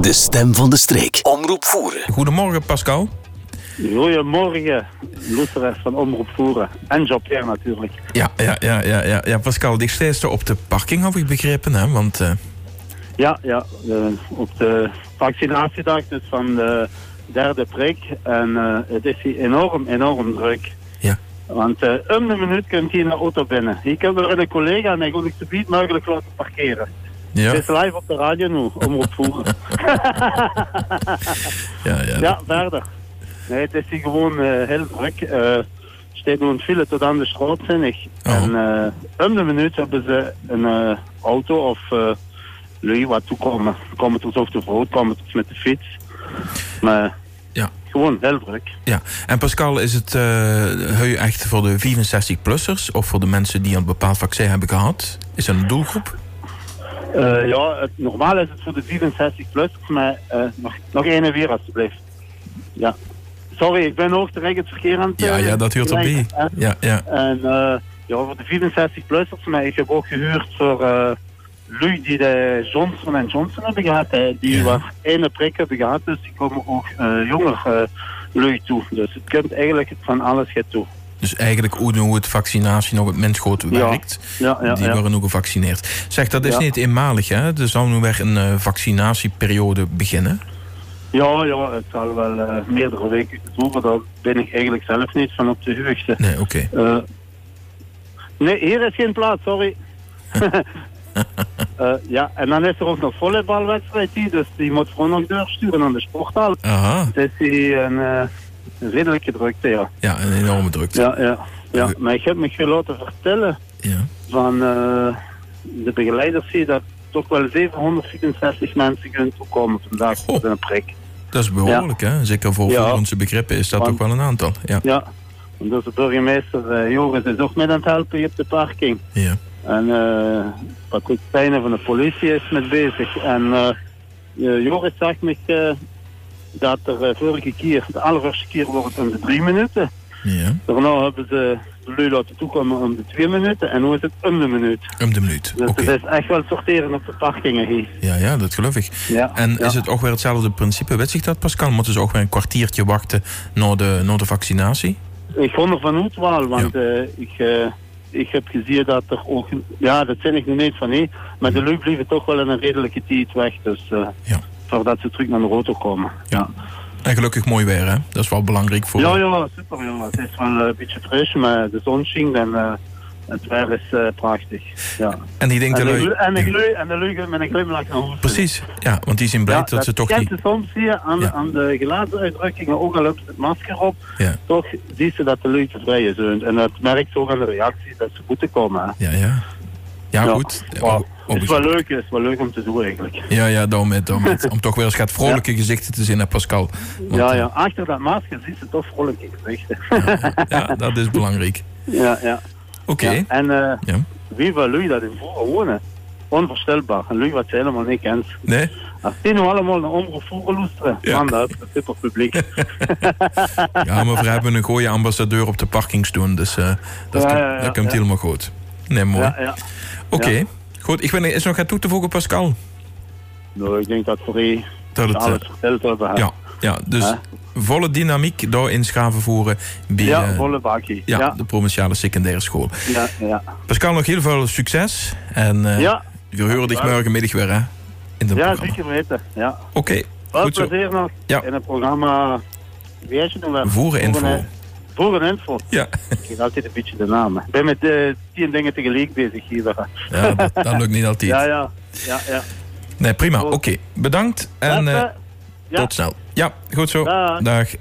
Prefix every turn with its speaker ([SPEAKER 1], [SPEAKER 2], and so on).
[SPEAKER 1] De stem van de streek. Omroep voeren.
[SPEAKER 2] Goedemorgen Pascal.
[SPEAKER 3] Goedemorgen, luisteraars van Omroep Voeren. En Jean-Pierre natuurlijk.
[SPEAKER 2] Ja, ja, ja, ja, ja, ja. Pascal, die steeds op de parking, heb ik begrepen. Hè? Want eh,
[SPEAKER 3] Ja, ja, eh, op de vaccinatiedag dus van de derde prik. En eh, het is hier enorm, enorm druk.
[SPEAKER 2] Ja.
[SPEAKER 3] Want eh, om de minuut kunt hier een auto binnen. Hier kunnen we een collega en ik wil ik zo niet mogelijk laten parkeren.
[SPEAKER 2] ja,
[SPEAKER 3] Het is live op de radio nu, Omroep Voeren.
[SPEAKER 2] ja, ja,
[SPEAKER 3] ja, verder. Nee, het is hier gewoon eh, heel druk. Eh steeds nu een file tot aan de straatzinnig.
[SPEAKER 2] Oh.
[SPEAKER 3] En eh, om de minuut hebben ze een eh, auto of eh lui wat toekomen. Komen tot op de vroeg, komen tot met de fiets. Maar
[SPEAKER 2] Ja.
[SPEAKER 3] gewoon heel druk.
[SPEAKER 2] ja. En Pascal, is het eh heu echt voor de 64-plussers of voor de mensen die een bepaald vaccin hebben gehad? Is dat een doelgroep?
[SPEAKER 3] Eh, ja, het, normaal is het voor de 64 plus, maar eh, nog, nog één weer alsjeblieft. Ja. Sorry, ik ben ook terecht het verkeer aan het...
[SPEAKER 2] Ja,
[SPEAKER 3] eh,
[SPEAKER 2] ja, dat hoort erbij.
[SPEAKER 3] geleiden.
[SPEAKER 2] Ja, ja,
[SPEAKER 3] En eh, ja, voor de 64 plussers, maar ik heb ook gehuurd voor eh lui die de Johnson Johnson hebben gehad, hè, die
[SPEAKER 2] Ja.
[SPEAKER 3] maar ene prik hebben gehad, dus die komen ook eh, jonger eh lui toe. Dus het komt eigenlijk van alles gaat toe.
[SPEAKER 2] dus eigenlijk hoe hoe het vaccinatie nog het mens goed werkt.
[SPEAKER 3] Ja, ja,
[SPEAKER 2] die
[SPEAKER 3] ja.
[SPEAKER 2] worden ook gevaccineerd. Zeg, dat is
[SPEAKER 3] Ja.
[SPEAKER 2] niet eenmalig, hè? Er zal nu weer een eh, vaccinatieperiode beginnen.
[SPEAKER 3] ja, ja, het zal wel eh, meerdere weken duren, daar ben ik eigenlijk zelf niet van op de hoogte.
[SPEAKER 2] Nee, oké.
[SPEAKER 3] Eh, nee, hier is geen plaats, sorry. Eh, ja, en dan is er ook nog volleybalwedstrijd hier, dus die moet gewoon nog doorsturen aan de sporthal.
[SPEAKER 2] Aha,
[SPEAKER 3] Het is hier een eh, een redelijke drukte, ja.
[SPEAKER 2] ja, een enorme drukte.
[SPEAKER 3] Ja, ja, ja. Maar ik heb me laten vertellen
[SPEAKER 2] Ja.
[SPEAKER 3] van eh, de begeleiders hier dat toch wel 764 mensen kunnen toekomen vandaag
[SPEAKER 2] Goh.
[SPEAKER 3] met een prik.
[SPEAKER 2] Dat is behoorlijk, hè? Zeker voor,
[SPEAKER 3] Ja.
[SPEAKER 2] voor onze begrippen is dat
[SPEAKER 3] Want-
[SPEAKER 2] toch wel een aantal. Ja.
[SPEAKER 3] Ja, en dus de burgemeester eh, Joris is ook met aan het helpen hier op de parking.
[SPEAKER 2] ja.
[SPEAKER 3] En eh, Patrick Stijnen van de politie is met bezig. En eh eh, Joris zegt me eh, dat er eh, vorige keer, de allereerste keer wordt het om de drie minuten.
[SPEAKER 2] ja.
[SPEAKER 3] Daarna hebben ze de lui laten toekomen om de twee minuten. En nu is het om de minuut.
[SPEAKER 2] Om de minuut.
[SPEAKER 3] Dus
[SPEAKER 2] Oké.
[SPEAKER 3] het is echt wel sorteren op de parkingen hier.
[SPEAKER 2] Ja, ja, dat geloof ik.
[SPEAKER 3] Ja,
[SPEAKER 2] En
[SPEAKER 3] ja.
[SPEAKER 2] is het ook weer hetzelfde principe? Weet zich dat, Pascal? Moeten ze ook weer een kwartiertje wachten naar de, naar de vaccinatie?
[SPEAKER 3] Ik vond er vanuit wel, want eh, ik, eh, ik heb gezien dat er ook... Ja, dat zijn ik nog niet van, nee. Maar de lui blijven toch wel in een redelijke tijd weg. Dus eh,
[SPEAKER 2] Ja.
[SPEAKER 3] voordat ze terug naar de auto komen.
[SPEAKER 2] Ja. En gelukkig mooi weer, hè? Dat is wel belangrijk voor...
[SPEAKER 3] Ja, ja, super. Ja. Het is wel een beetje fris, maar de zon schijnt en eh, het weer is eh, prachtig. Ja.
[SPEAKER 2] En ik denk
[SPEAKER 3] En
[SPEAKER 2] dat...
[SPEAKER 3] de,
[SPEAKER 2] lui-
[SPEAKER 3] en de,
[SPEAKER 2] Ja.
[SPEAKER 3] glu- en de lucht met een glimlach naar huis.
[SPEAKER 2] Precies, ja, want die zijn blij dat, ze toch
[SPEAKER 3] kent
[SPEAKER 2] die...
[SPEAKER 3] je soms hier aan,
[SPEAKER 2] Ja.
[SPEAKER 3] aan de gelaatsuitdrukkingen, ook al hebben ze het masker op,
[SPEAKER 2] Ja.
[SPEAKER 3] toch ziet ze dat de lui tevreden zijn. En dat merkt ze ook aan de reactie dat ze moeten komen. hè.
[SPEAKER 2] Ja, ja. Ja,
[SPEAKER 3] Ja.
[SPEAKER 2] goed. Ja,
[SPEAKER 3] Maar
[SPEAKER 2] op- op-
[SPEAKER 3] Het is wel leuk, het is wel leuk om te doen eigenlijk.
[SPEAKER 2] ja, ja, daarom het, daarom het. Om toch weer eens gaat vrolijke gezichten te zien, hè, Pascal. Want,
[SPEAKER 3] Ja, ja, achter dat masker ziet ze toch vrolijke gezichten.
[SPEAKER 2] ja, dat is belangrijk.
[SPEAKER 3] ja, ja.
[SPEAKER 2] Oké.
[SPEAKER 3] Ja, En eh,
[SPEAKER 2] Ja.
[SPEAKER 3] wie wil lui dat in voren wonen? Onvoorstelbaar. En lui wat ze helemaal niet kent.
[SPEAKER 2] Nee?
[SPEAKER 3] Als die nu allemaal naar omroep voeren loesteren,
[SPEAKER 2] Ja.
[SPEAKER 3] man, dat is een super publiek.
[SPEAKER 2] Ja, maar we hebben een goede ambassadeur op de parkingstoen, dus eh, dat,
[SPEAKER 3] Ja,
[SPEAKER 2] komt-
[SPEAKER 3] ja, ja,
[SPEAKER 2] dat komt
[SPEAKER 3] ja.
[SPEAKER 2] helemaal goed. Nee, mooi.
[SPEAKER 3] ja, ja.
[SPEAKER 2] Oké, goed. Ik ben er is er nog aan toe te voegen, Pascal.
[SPEAKER 3] Nou, ik denk dat voor die
[SPEAKER 2] Dat het,
[SPEAKER 3] alles
[SPEAKER 2] eh,
[SPEAKER 3] verteld hebben. hè.
[SPEAKER 2] ja, ja, dus
[SPEAKER 3] Hè?
[SPEAKER 2] volle dynamiek daarin schaven voeren bij
[SPEAKER 3] ja,
[SPEAKER 2] eh,
[SPEAKER 3] volle bakkie.
[SPEAKER 2] ja,
[SPEAKER 3] Ja,
[SPEAKER 2] de provinciale secundaire school.
[SPEAKER 3] ja, ja.
[SPEAKER 2] Pascal, nog heel veel succes. En eh
[SPEAKER 3] Ja,
[SPEAKER 2] we horen dich morgenmiddag weer, hè? In de
[SPEAKER 3] ja,
[SPEAKER 2] programma.
[SPEAKER 3] zeker weten. Ja.
[SPEAKER 2] Oké,
[SPEAKER 3] Wel
[SPEAKER 2] goed zo.
[SPEAKER 3] plezier nog
[SPEAKER 2] Ja.
[SPEAKER 3] in het programma. Wie heet je nou weer?
[SPEAKER 2] Voeren info.
[SPEAKER 3] Voeren info.
[SPEAKER 2] Ja,
[SPEAKER 3] Ik weet altijd een beetje de naam. hè. Ik ben met eh, tien dingen tegelijk bezig hier. hè.
[SPEAKER 2] ja dat, dat lukt niet altijd.
[SPEAKER 3] Ja, ja. ja, ja.
[SPEAKER 2] Nee, prima. Oké, bedankt. En
[SPEAKER 3] Laten
[SPEAKER 2] eh,
[SPEAKER 3] we- ja.
[SPEAKER 2] tot snel. Ja, goed zo.
[SPEAKER 3] Dag.
[SPEAKER 2] Dag.